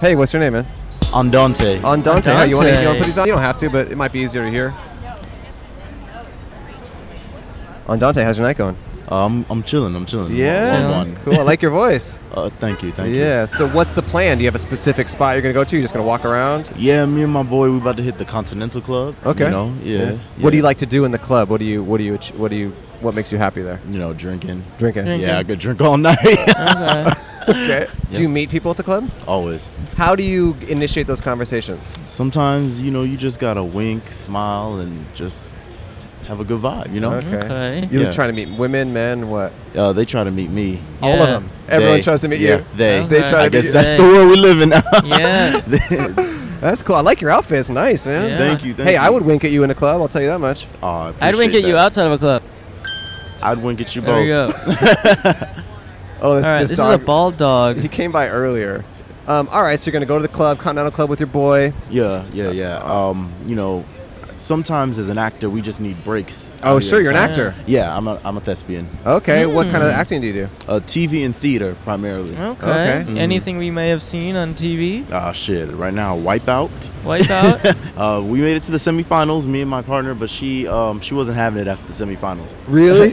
Hey, what's your name, man? Andante. On Dante. Andante. You want to put these on? You don't have to, but it might be easier to hear. On Dante, how's your night going? Uh, I'm, I'm chilling. I'm chilling. Yeah, One, one. cool. I like your voice. Uh, thank you. Thank you. yeah. So, what's the plan? Do you have a specific spot you're gonna go to? You're just gonna walk around? Yeah, me and my boy, we about to hit the Continental Club. Okay. You know? Yeah. What do yeah. you like to do in the club? What do you What do you ach- What do you What makes you happy there? You know, drinking. Drinking. Drinking. Yeah, I could drink all night. Okay. Okay. Do you meet people at the club? Always. How do you initiate those conversations? Sometimes, you know, you just gotta wink, smile, and just have a good vibe. You know. Okay. You're Yeah. trying to meet women, men, what? Uh, they try to meet me. All Yeah. of them. Everyone They- tries to meet yeah, you. They. They try I to guess meet you. that's They. the world we live in. now. Yeah. That's cool. I like your outfit. It's nice, man. Yeah. Thank you. Thank hey, you. I would wink at you in a club. I'll tell you that much. Oh, I appreciate I'd wink at that. you outside of a club. I'd wink at you There we both. go. Oh, this, All right, this, this, is dog. a bald dog. He came by earlier. Um, all right, so you're gonna go to the club, Continental Club, with your boy. Yeah, yeah, yeah. Um, you know, sometimes as an actor, we just need breaks. Oh, Yeah, sure, you're an time- actor. Yeah, I'm a, I'm a thespian. Okay, what kind of acting do you do? Uh, TV and theater primarily. Hmm. Okay. Okay. Mm-hmm. Anything we may have seen on TV, Ah, shit. Right now, Wipeout. wipe out. Uh, we made it to the semifinals, me and my partner, but she um, she wasn't having it after the semifinals. Really?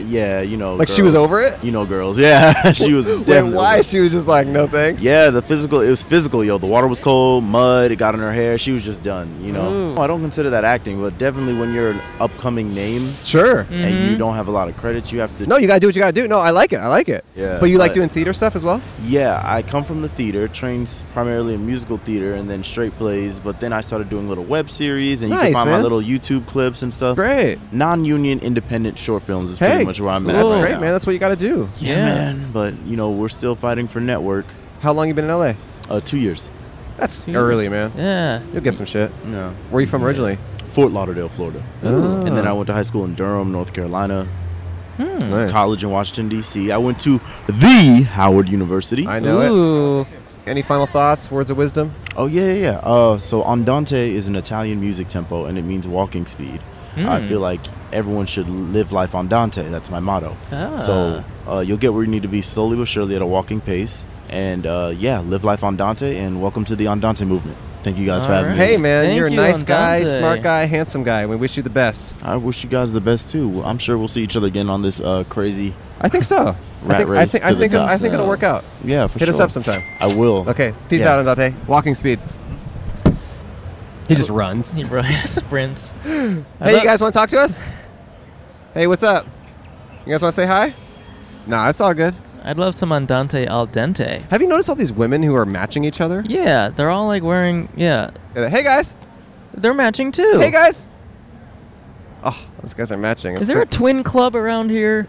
yeah, you know. Like she was over it? You know, girls. Yeah, she was definitely. Then why over it. she was just like, no thanks. Yeah, the physical. It was physical, yo. The water was cold, mud. It got in her hair. She was just done. You know. Ooh. I don't consider that acting, but definitely when you're an upcoming name Sure. and you don't have a lot of credits, you have to. No, you gotta do what you gotta do. No, I like it. I like it. Yeah, But you like but- doing theater stuff as well? Yeah, I come from the theater, trained s- primarily in musical theater and then straight plays, but then I started doing little web series and you Nice, can find man. my little YouTube clips and stuff. Great. Non-union independent short films is Hey, pretty much where I'm at. That's right great, now. man. That's what you gotta do. yeah, Yeah. man. But you know, we're still fighting for network. How long you been in LA? Uh, two years. That's Two early, man. yeah. You'll get some shit. No. Where are you from originally? Oh. Fort Lauderdale, Florida. Ooh. And then I went to high school in Durham, North Carolina. Hmm. Nice. College in Washington D.C. I went to the Howard University. I know it. Ooh. Any final thoughts, words of wisdom? Oh yeah, yeah, yeah. Uh, so andante is an Italian music tempo, and it means walking speed. I feel like everyone should live life andante. That's my motto. So uh, you'll get where you need to be slowly but surely at a walking pace. And uh, yeah, live life andante, and welcome to the andante movement. Thank you guys for having me. Hey, man, Thank you're a you, nice guy, Andante. smart guy, handsome guy. We wish you the best. I wish you guys the best too. I'm sure we'll see each other again on this uh, crazy. I think so. I Rat think, I race think, to I the think, it'll- top. I think it'll work out. Yeah, for Hit sure. us up sometime. I will. Okay, peace Yeah. out, Andante. Walking speed. He just runs. He really sprints. Hey, you guys want to talk to us? Hey, what's up? You guys want to say hi? Nah, it's all good. I'd love some andante al dente. Have you noticed all these women who are matching each other? Yeah, they're all like wearing. Yeah, They're like, Hey guys! they're matching too. Hey guys! Oh, those guys are matching. Is there a twin club around here?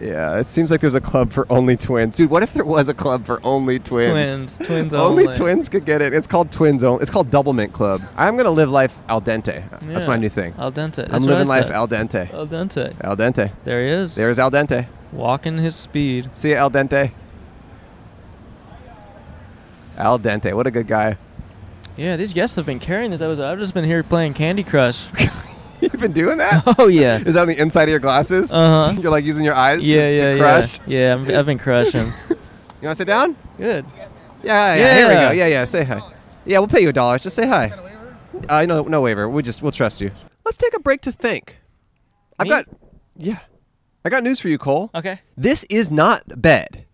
yeah, it seems like there's a club for only twins. Dude, what if there was a club for only Twins, twins only, only. twins could get it. It's called Twins Only. It's called Double Mint Club. I'm gonna live life al dente. That's Yeah. my new thing. Al dente. That's I'm what I living life said. al dente. al dente. Al dente. There he is. There's al dente. Walking his speed. See you, Al Dente. Al Dente, what a good guy. Yeah, these guests have been carrying this episode. I've just been here playing Candy Crush. You've been doing that? oh yeah. Is that on the inside of your glasses? Uh-huh. You're like using your eyes to- Yeah, to, yeah, crush? yeah. Yeah, I'm, I've been crushing. You want to sit down? Good. Yeah, yeah, Here we Yeah. go. Yeah, yeah. Say hi. Yeah, we'll pay you a dollar. Just say hi. Uh, no, no waiver. We just we'll trust you. Let's take a break to think. I've Me? got, yeah, I got news for you, Cole. Okay. This is not bed,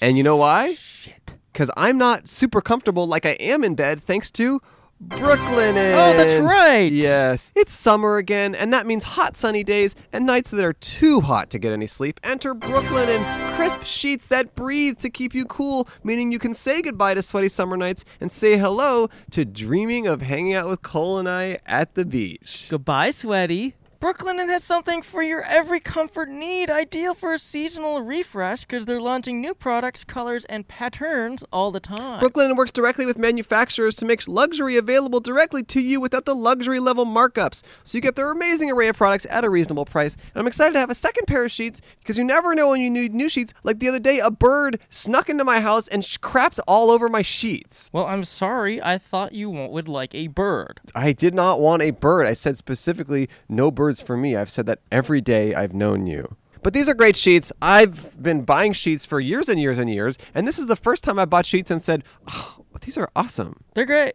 and you know why? Shit. Because I'm not super comfortable like I am in bed, thanks to Brooklyn. Oh, that's right. Yes, it's summer again, and that means hot sunny days and nights that are too hot to get any sleep. Enter Brooklyn and crisp sheets that breathe to keep you cool, meaning you can say goodbye to sweaty summer nights and say hello to dreaming of hanging out with Cole and I at the beach. Goodbye, sweaty. Brooklinen has something for your every comfort need, ideal for a seasonal refresh because they're launching new products, colors, and patterns all the time. Brooklyn works directly with manufacturers to make luxury available directly to you without the luxury level markups. So you get their amazing array of products at a reasonable price. And I'm excited to have a second pair of sheets because you never know when you need new sheets. Like the other day, a bird snuck into my house and sh- crapped all over my sheets. well, I'm sorry. I thought you wa- would like a bird. I did not want a bird. I said specifically, no birds for me. I've said that every day I've known you. But these are great sheets. I've been buying sheets for years and years and years. And this is the first time I bought sheets and said, oh, these are awesome. They're great.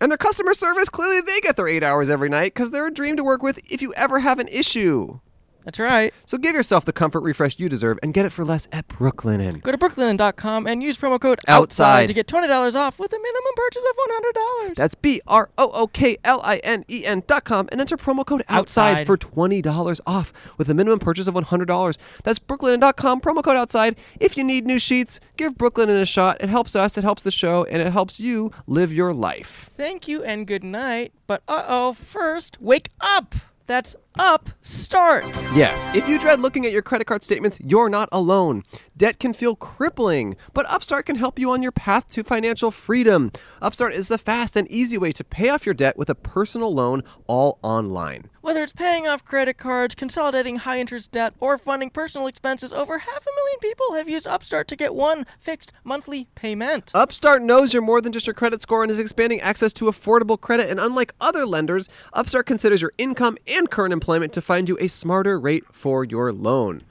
And their customer service, clearly they get their eight hours every night because they're a dream to work with if you ever have an issue. That's right. So give yourself the comfort refresh you deserve and get it for less at Brooklinen. Go to brooklinen.com and use promo code Outside. to get $20 off with a minimum purchase of $100. That's B R O O K L I N E N dot com and enter promo code outside, Outside. for $20 off with a minimum purchase of $100. That's Brooklinen dot com promo code outside. If you need new sheets, give Brooklinen a shot. It helps us, it helps the show, and it helps you live your life. Thank you and good night. But uh oh, first, wake up. That's up. Start. Yes, if you dread looking at your credit card statements, you're not alone. Debt can feel crippling, but Upstart can help you on your path to financial freedom. Upstart is the fast and easy way to pay off your debt with a personal loan all online. Whether it's paying off credit cards, consolidating high interest debt, or funding personal expenses, over half a million people have used Upstart to get one fixed monthly payment. Upstart knows you're more than just your credit score and is expanding access to affordable credit. And unlike other lenders, Upstart considers your income and current employment to find you a smarter rate for your loan.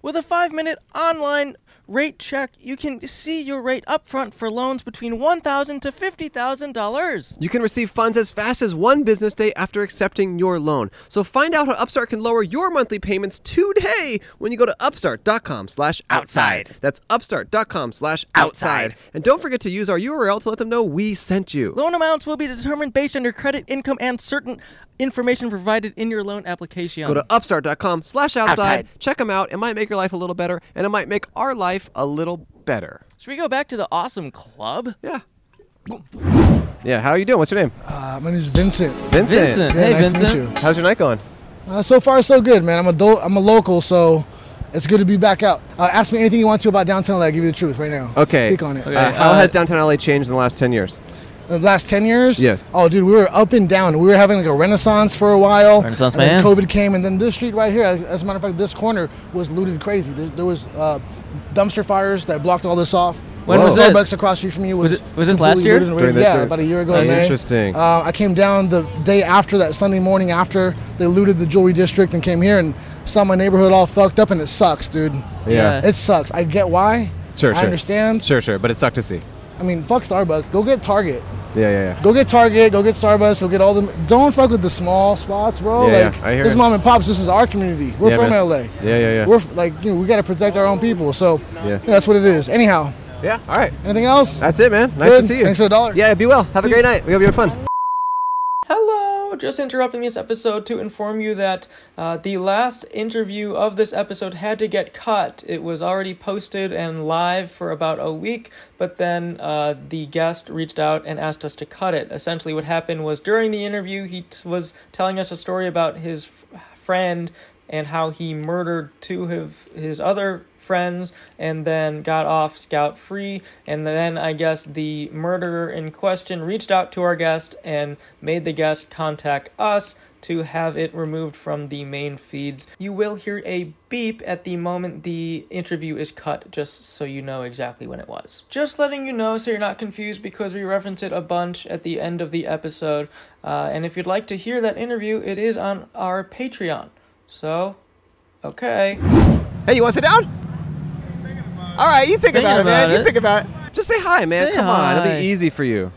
With a five minute online rate check, you can see your rate upfront for loans between $1,000 to $50,000. You can receive funds as fast as one business day after accepting your loan. So find out how Upstart can lower your monthly payments today when you go to upstart.com slash outside. That's upstart.com slash outside. And don't forget to use our URL to let them know we sent you. Loan amounts will be determined based on your credit, income, and certain information provided in your loan application. Go to upstart.com slash outside. Check them out. It might make your life a little better and it might make our life a little better. Should we go back to the awesome club? Yeah. Yeah, how are you doing? What's your name? Uh, my name is Vincent. Vincent. Vincent. Yeah, hey, nice to meet Vincent. you. How's your night going? Uh, so far, so good, man. I'm a do- I'm a local, so it's good to be back out. Uh, ask me anything you want to about downtown LA. I give you the truth right now. Okay. Speak on it. Uh, how has downtown LA changed in the last 10 years? The last ten years. Yes. Oh, dude, we were up and down. We were having like a renaissance for a while. Renaissance and then man. COVID came, and then this street right here, as as a matter of fact, this corner was looted crazy. There, there was uh, dumpster fires that blocked all this off. When was Starbucks this? across the street from you Was was it- was this last completely year? looted and During raided. the- yeah, during- about a year ago. That's in May. interesting. Uh, I came down the day after that Sunday morning after they looted the jewelry district and came here and saw my neighborhood all fucked up, and it sucks, dude. Yeah. It sucks. I get why. Sure, I sure. understand. Sure, sure. But it sucked to see. I mean, fuck Starbucks. Go get Target. Yeah, yeah, yeah. Go get Target. Go get Starbucks. Go get all the. Don't fuck with the small spots, bro. Yeah, yeah, like I hear this it. mom and pops. This is our community. We're Yeah, from man. LA. Yeah, yeah, yeah. We're f- like you know we gotta protect our own people. So Yeah. that's what it is. Anyhow, Yeah. All right. anything else? That's it, man. Nice Good. to see you. Thanks for the dollar. Yeah, be well. Have a great night. We hope you had fun. Hello! Just interrupting this episode to inform you that uh, the last interview of this episode had to get cut. It was already posted and live for about a week, but then uh, the guest reached out and asked us to cut it. Essentially, what happened was during the interview, he t- was telling us a story about his f- friend and how he murdered two of his other friends and then got off scout free. And then I guess the murderer in question reached out to our guest and made the guest contact us to have it removed from the main feeds. You will hear a beep at the moment the interview is cut, just so you know exactly when it was. Just letting you know so you're not confused because we reference it a bunch at the end of the episode. Uh, and if you'd like to hear that interview, it is on our Patreon. So, okay. Hey, you want to sit down? All right, you think Thinking about, it, man. about You it. think about it. Just say hi, man. Say Come on, it'll hi. be easy for you.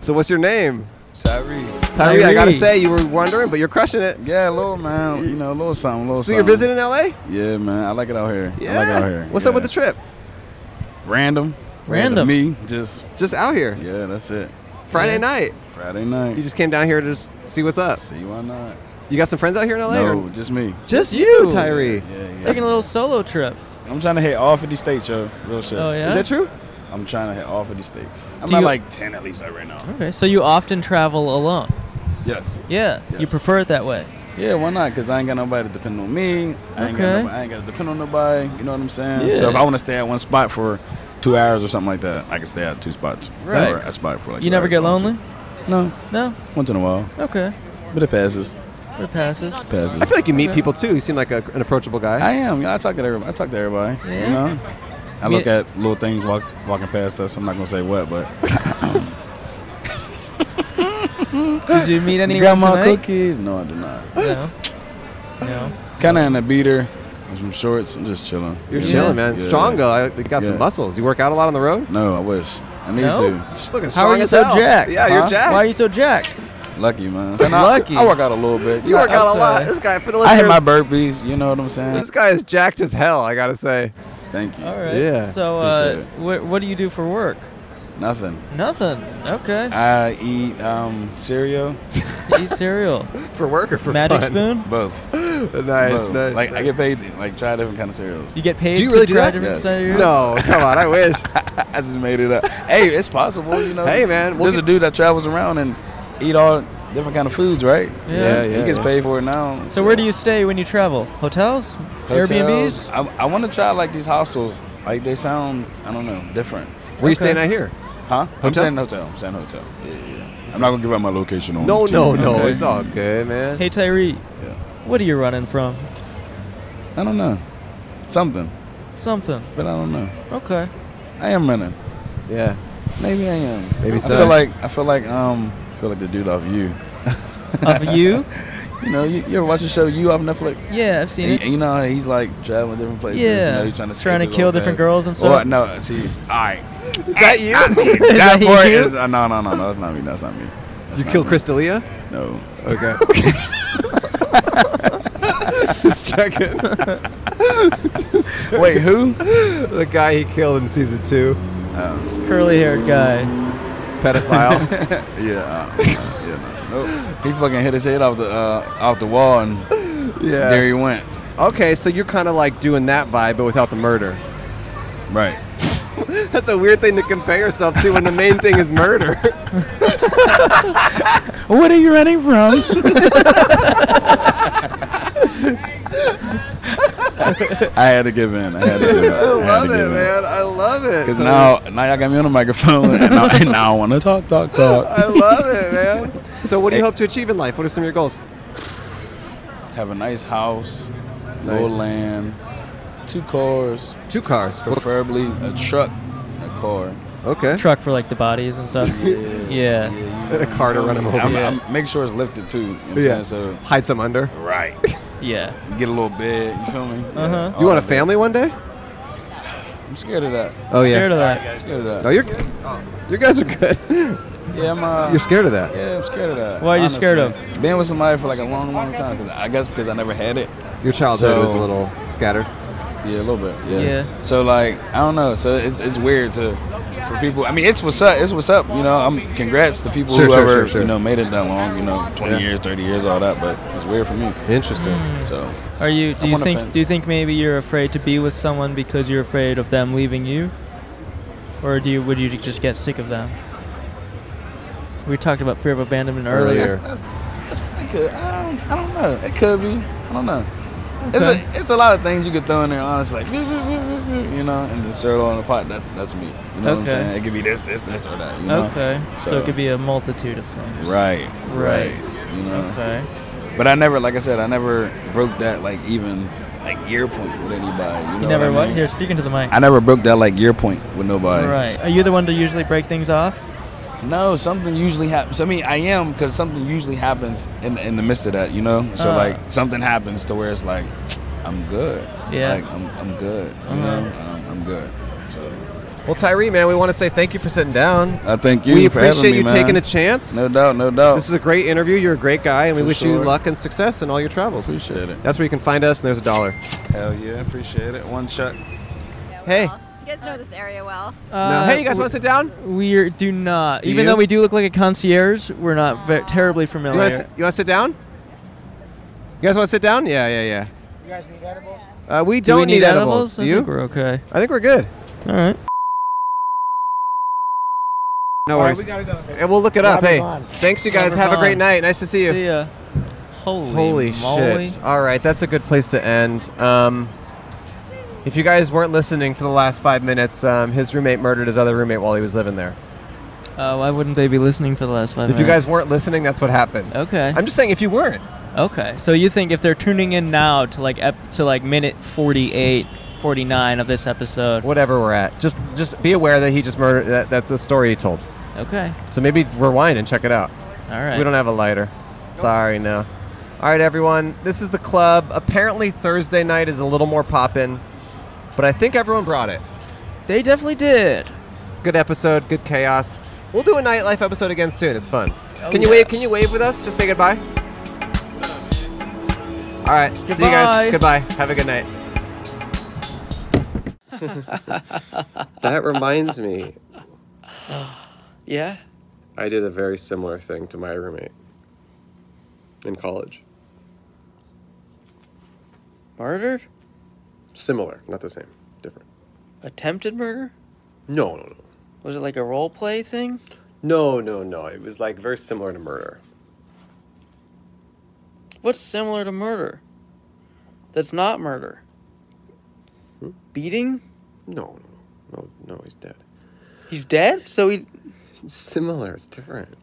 So, what's your name? Tyree. Tyree, I gotta say, you were wondering, but you're crushing it. Yeah, a little man, you know, a little something, a little So something. you're visiting LA? Yeah, man, I like it out here. I like it oh, out here. What's up with the trip? Random. Random. Me, just. Just out here. Yeah, that's it. Friday night. Friday night. You just came down here to just see what's up. See why not? You got some friends out here in LA? or- No, just me. Just you, Tyree. Taking a little solo trip. I'm trying to hit all 50 states, yo. Real shit. Oh, yeah? Is that true? I'm trying to hit all 50 states. I'm Do at you- like 10 at least like, right now. Okay, so you often travel alone. Yes. Yeah, you Yes. prefer it that way. Yeah, why not? Because I ain't got nobody to depend on me. I ain't, Okay. got nobody, I ain't got to depend on nobody. You know what I'm saying? Yeah. So if I want to stay at one spot for two hours or something like that, I can stay at two spots. Right. Or a spot for like you two never hours get if I want to. lonely? No. No? Once in a while. Okay. But it passes. It passes. Passes. I feel like you meet Okay. people too. You seem like a, an approachable guy. I am. You know, I talk to everybody. I talk to everybody. Yeah. You know, I Me- look at little things walk, walking past us. I'm not gonna say what, but Did you meet anyone grandma tonight? cookies. No, I did not. No. No. Kind of in a beater, with some shorts. I'm just chilling. You're You know? chilling, man. Yeah. Strong though. I you got Yeah. some muscles. You work out a lot on the road? No, I wish. I need No? to. Just looking How strong are you as so hell. jacked? Yeah, you're Huh? jacked. Why are you so jacked? Lucky, man. Lucky. I, I work out a little bit. You work I, out a lot. Okay. This guy for the I hit listeners. my burpees. You know what I'm saying? this guy is jacked as hell. I gotta say. Thank you. All right. Yeah. So, uh, Appreciate wh- what do you do for work? Nothing. Nothing. Okay. I eat um, cereal. Eat cereal. For work or for Magic fun? spoon. Both. nice, Both. nice. Like I get paid. to, Like try different kind of cereals. You get paid Do you to really do try that? different Yes. cereal? no, come on. I wish. I just made it up. Hey, it's possible, you know. Hey, man, we'll there's get- a dude that travels around and eat all different kind of foods, right? Yeah. Yeah, He yeah. gets paid for it now. So where do you stay when you travel? Hotels? Hotels. Airbnbs? I, I want to try like these hostels. Like they sound, I don't know, different. Were you Okay. staying out here? Huh? I'm saying hotel. I'm saying hotel. Yeah, yeah, yeah. I'm not gonna give out my location on. No, TV, no, no. okay? It's all good, man. Hey Tyree, Yeah. what are you running from? I don't know. Something, Something. but I don't know. Okay. I am running. Yeah. Maybe I am. Maybe I so. feel like I feel like um I feel like the dude off you. Of you? You know, you, you ever watch the show You off Netflix? Yeah, I've seen And, it. and you know how he's like traveling different places. you Yeah. know, he's trying to, Trying to escape his kill old different past. girls and Or, stuff? no, see, all right, Is that you? that, that part you? is uh, no, no, no, no. That's not me. That's not me. That's Did you not kill me. Crystalia? No. Okay. Just checking. Wait, who? the guy he killed in season two, Curly haired guy. pedophile. Yeah, uh, uh, yeah. No. Nope. He fucking hit his head off the uh, off the wall, and yeah. there he went. okay, so you're kind of like doing that vibe, but without the murder. Right. That's a weird thing to compare yourself to when the main thing is murder. What are you running from? I had to give in. I had to give in. I love it, Oh, man. I love it. Because now, now y'all got me on the microphone, and now, and now I want to talk, talk, I talk. love it, man. So, what do you hope to achieve in life? What are some of your goals? Have a nice house, no Nice. land, two cars, Two cars. preferably a truck, and a car. Okay. Truck for like the bodies and stuff. Yeah. Yeah, A car to run him over. I'm, Yeah. I'm, make sure it's lifted too. You know what I'm Yeah. saying? So, Hide some under. right. Yeah. Get a little bed. You feel me? Yeah, Uh-huh. all You want a of it. family one day? I'm scared of that. Oh yeah. Scared of that. I'm scared of that. No, you're. You guys are good. Yeah, I'm. Uh, You're scared of that. Yeah, I'm scared of that. Why are you scared of? honestly. Being with somebody for like a long, long time. 'cause I guess because I never had it. Your childhood was a So- little scattered. Yeah, a little bit. Yeah. Yeah. So like, I don't know. So it's it's weird to for people. I mean, it's what's up. It's what's up. You know, I'm congrats to people Sure, sure, whoever sure, sure. you know made it that long. You know, 20 Yeah. years, 30 years, all that. But it's weird for me. Interesting. So Are you do I'm you on the think fence. do you think maybe you're afraid to be with someone because you're afraid of them leaving you? Or do you would you just get sick of them? We talked about fear of abandonment earlier. Earlier. uh, That's, that's, that's, it could, I, don't, I don't know. It could be. I don't know. It's a it's a lot of things you could throw in there. Honestly, like you know, and just throw it all in a pot. That, that's me. You know what I'm Okay. saying? It could be this, this, this, or that. You know? Okay. So, it could be a multitude of things. Right. Right. You know. Okay. But I never, like I said, I never broke that like even like year point with anybody. You, know You never what? I what? mean? Here, speaking to the mic. I never broke that like year point with nobody. Right. Are you the one to usually break things off? No, something usually happens. I mean, I am because something usually happens in in the midst of that, you know. So Ah. like something happens to where it's like, I'm good. Yeah. Like I'm I'm good. Uh-huh. You know, I'm, I'm good. So Well, Tyree, man, we want to say thank you for sitting down. I thank you. We for having appreciate me, you man. taking a chance. No doubt, no doubt. This is a great interview. You're a great guy, and we For wish you sure. luck and success in all your travels. Appreciate it. That's where you can find us, and there's a dollar. Hell yeah, appreciate it. One shot. Hey. You guys know this area well. Hey, you guys wanna sit down? We do not. Do Even you? though we do look like a concierge, we're not ve- terribly You familiar. want to you wanna sit down? You guys want to sit down? Yeah, yeah, yeah. You guys need edibles? Uh, we Do we don't need need edibles. edibles? Do I you? think we're okay. I think we're good. All right. No All right, worries. we gotta go. And we'll look it up. Robert Hey, Vaughn. thanks you guys. Robert Have a great Vaughn. night. Nice to see you. See ya. Holy, Holy moly. shit! All right, that's a good place to end. Um, if you guys weren't listening for the last five minutes, um, his roommate murdered his other roommate while he was living there. Uh, why wouldn't they be listening for the last five If minutes? you guys weren't listening, that's what happened. Okay. I'm just saying if you weren't. Okay. So you think if they're tuning in now to like ep- to like minute 48, 49 of this episode. Whatever we're at. Just just be aware that he just murdered. That, that's a story he told. Okay. So maybe rewind and check it out. All right. We don't have a lighter. Sorry, no. All right, everyone. This is the club. Apparently Thursday night is a little more poppin', but I think everyone brought it. They definitely did. Good episode. Good chaos. We'll do a nightlife episode again soon. It's fun. Oh, can you wave? Can you wave with us? Just say goodbye. All right. See you Goodbye. guys. Goodbye. Have a good night. That reminds me, Yeah. I did a very similar thing to my roommate in college. Murdered? Similar, not the same, different. Attempted murder? No, no, no. Was it like a role play thing? No, no, no. It was like very similar to murder. What's similar to murder? That's not murder. Beating? Hmm? No, no, no, no. He's dead. He's dead? So he. Similar. It's different.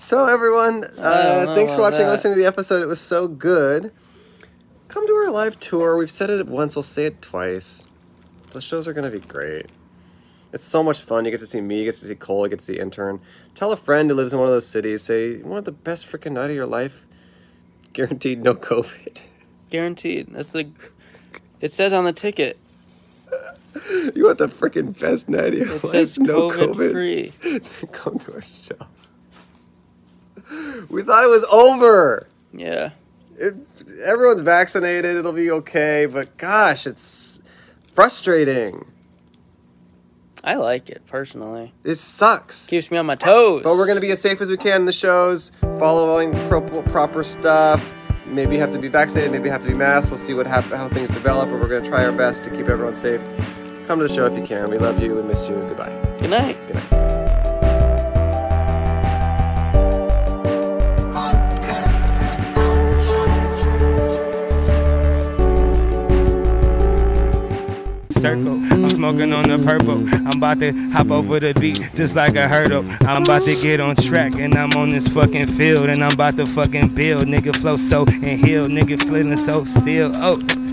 So everyone, don't know uh, thanks for about watching, and that. listening to the episode. It was so good. Come to our live tour. We've said it once. We'll say it twice. The shows are gonna be great. It's so much fun. You get to see me. You get to see Cole. You get to see intern. Tell a friend who lives in one of those cities. Say one of the best freaking night of your life. Guaranteed, no COVID. Guaranteed. That's the. It says on the ticket. you want the freaking best night of your It life? says no COVID COVID. free. Come to our show. We thought it was over. Yeah. it, everyone's vaccinated. It'll be okay. But gosh, it's frustrating. I like it personally. It sucks. Keeps me on my toes. But we're gonna be as safe as we can in the shows, following pro- proper stuff. Maybe have to be vaccinated. Maybe have to be masked. We'll see what hap- how things develop. But we're gonna try our best to keep everyone safe. Come to the show if you can. We love you and miss you. Goodbye. Good night. Good night. circle. I'm smoking on the purple. I'm about to hop over the beat just like a hurdle. I'm about to get on track and I'm on this fucking field and I'm about to fucking build. Nigga flow so and heal. Nigga feeling so still. Oh,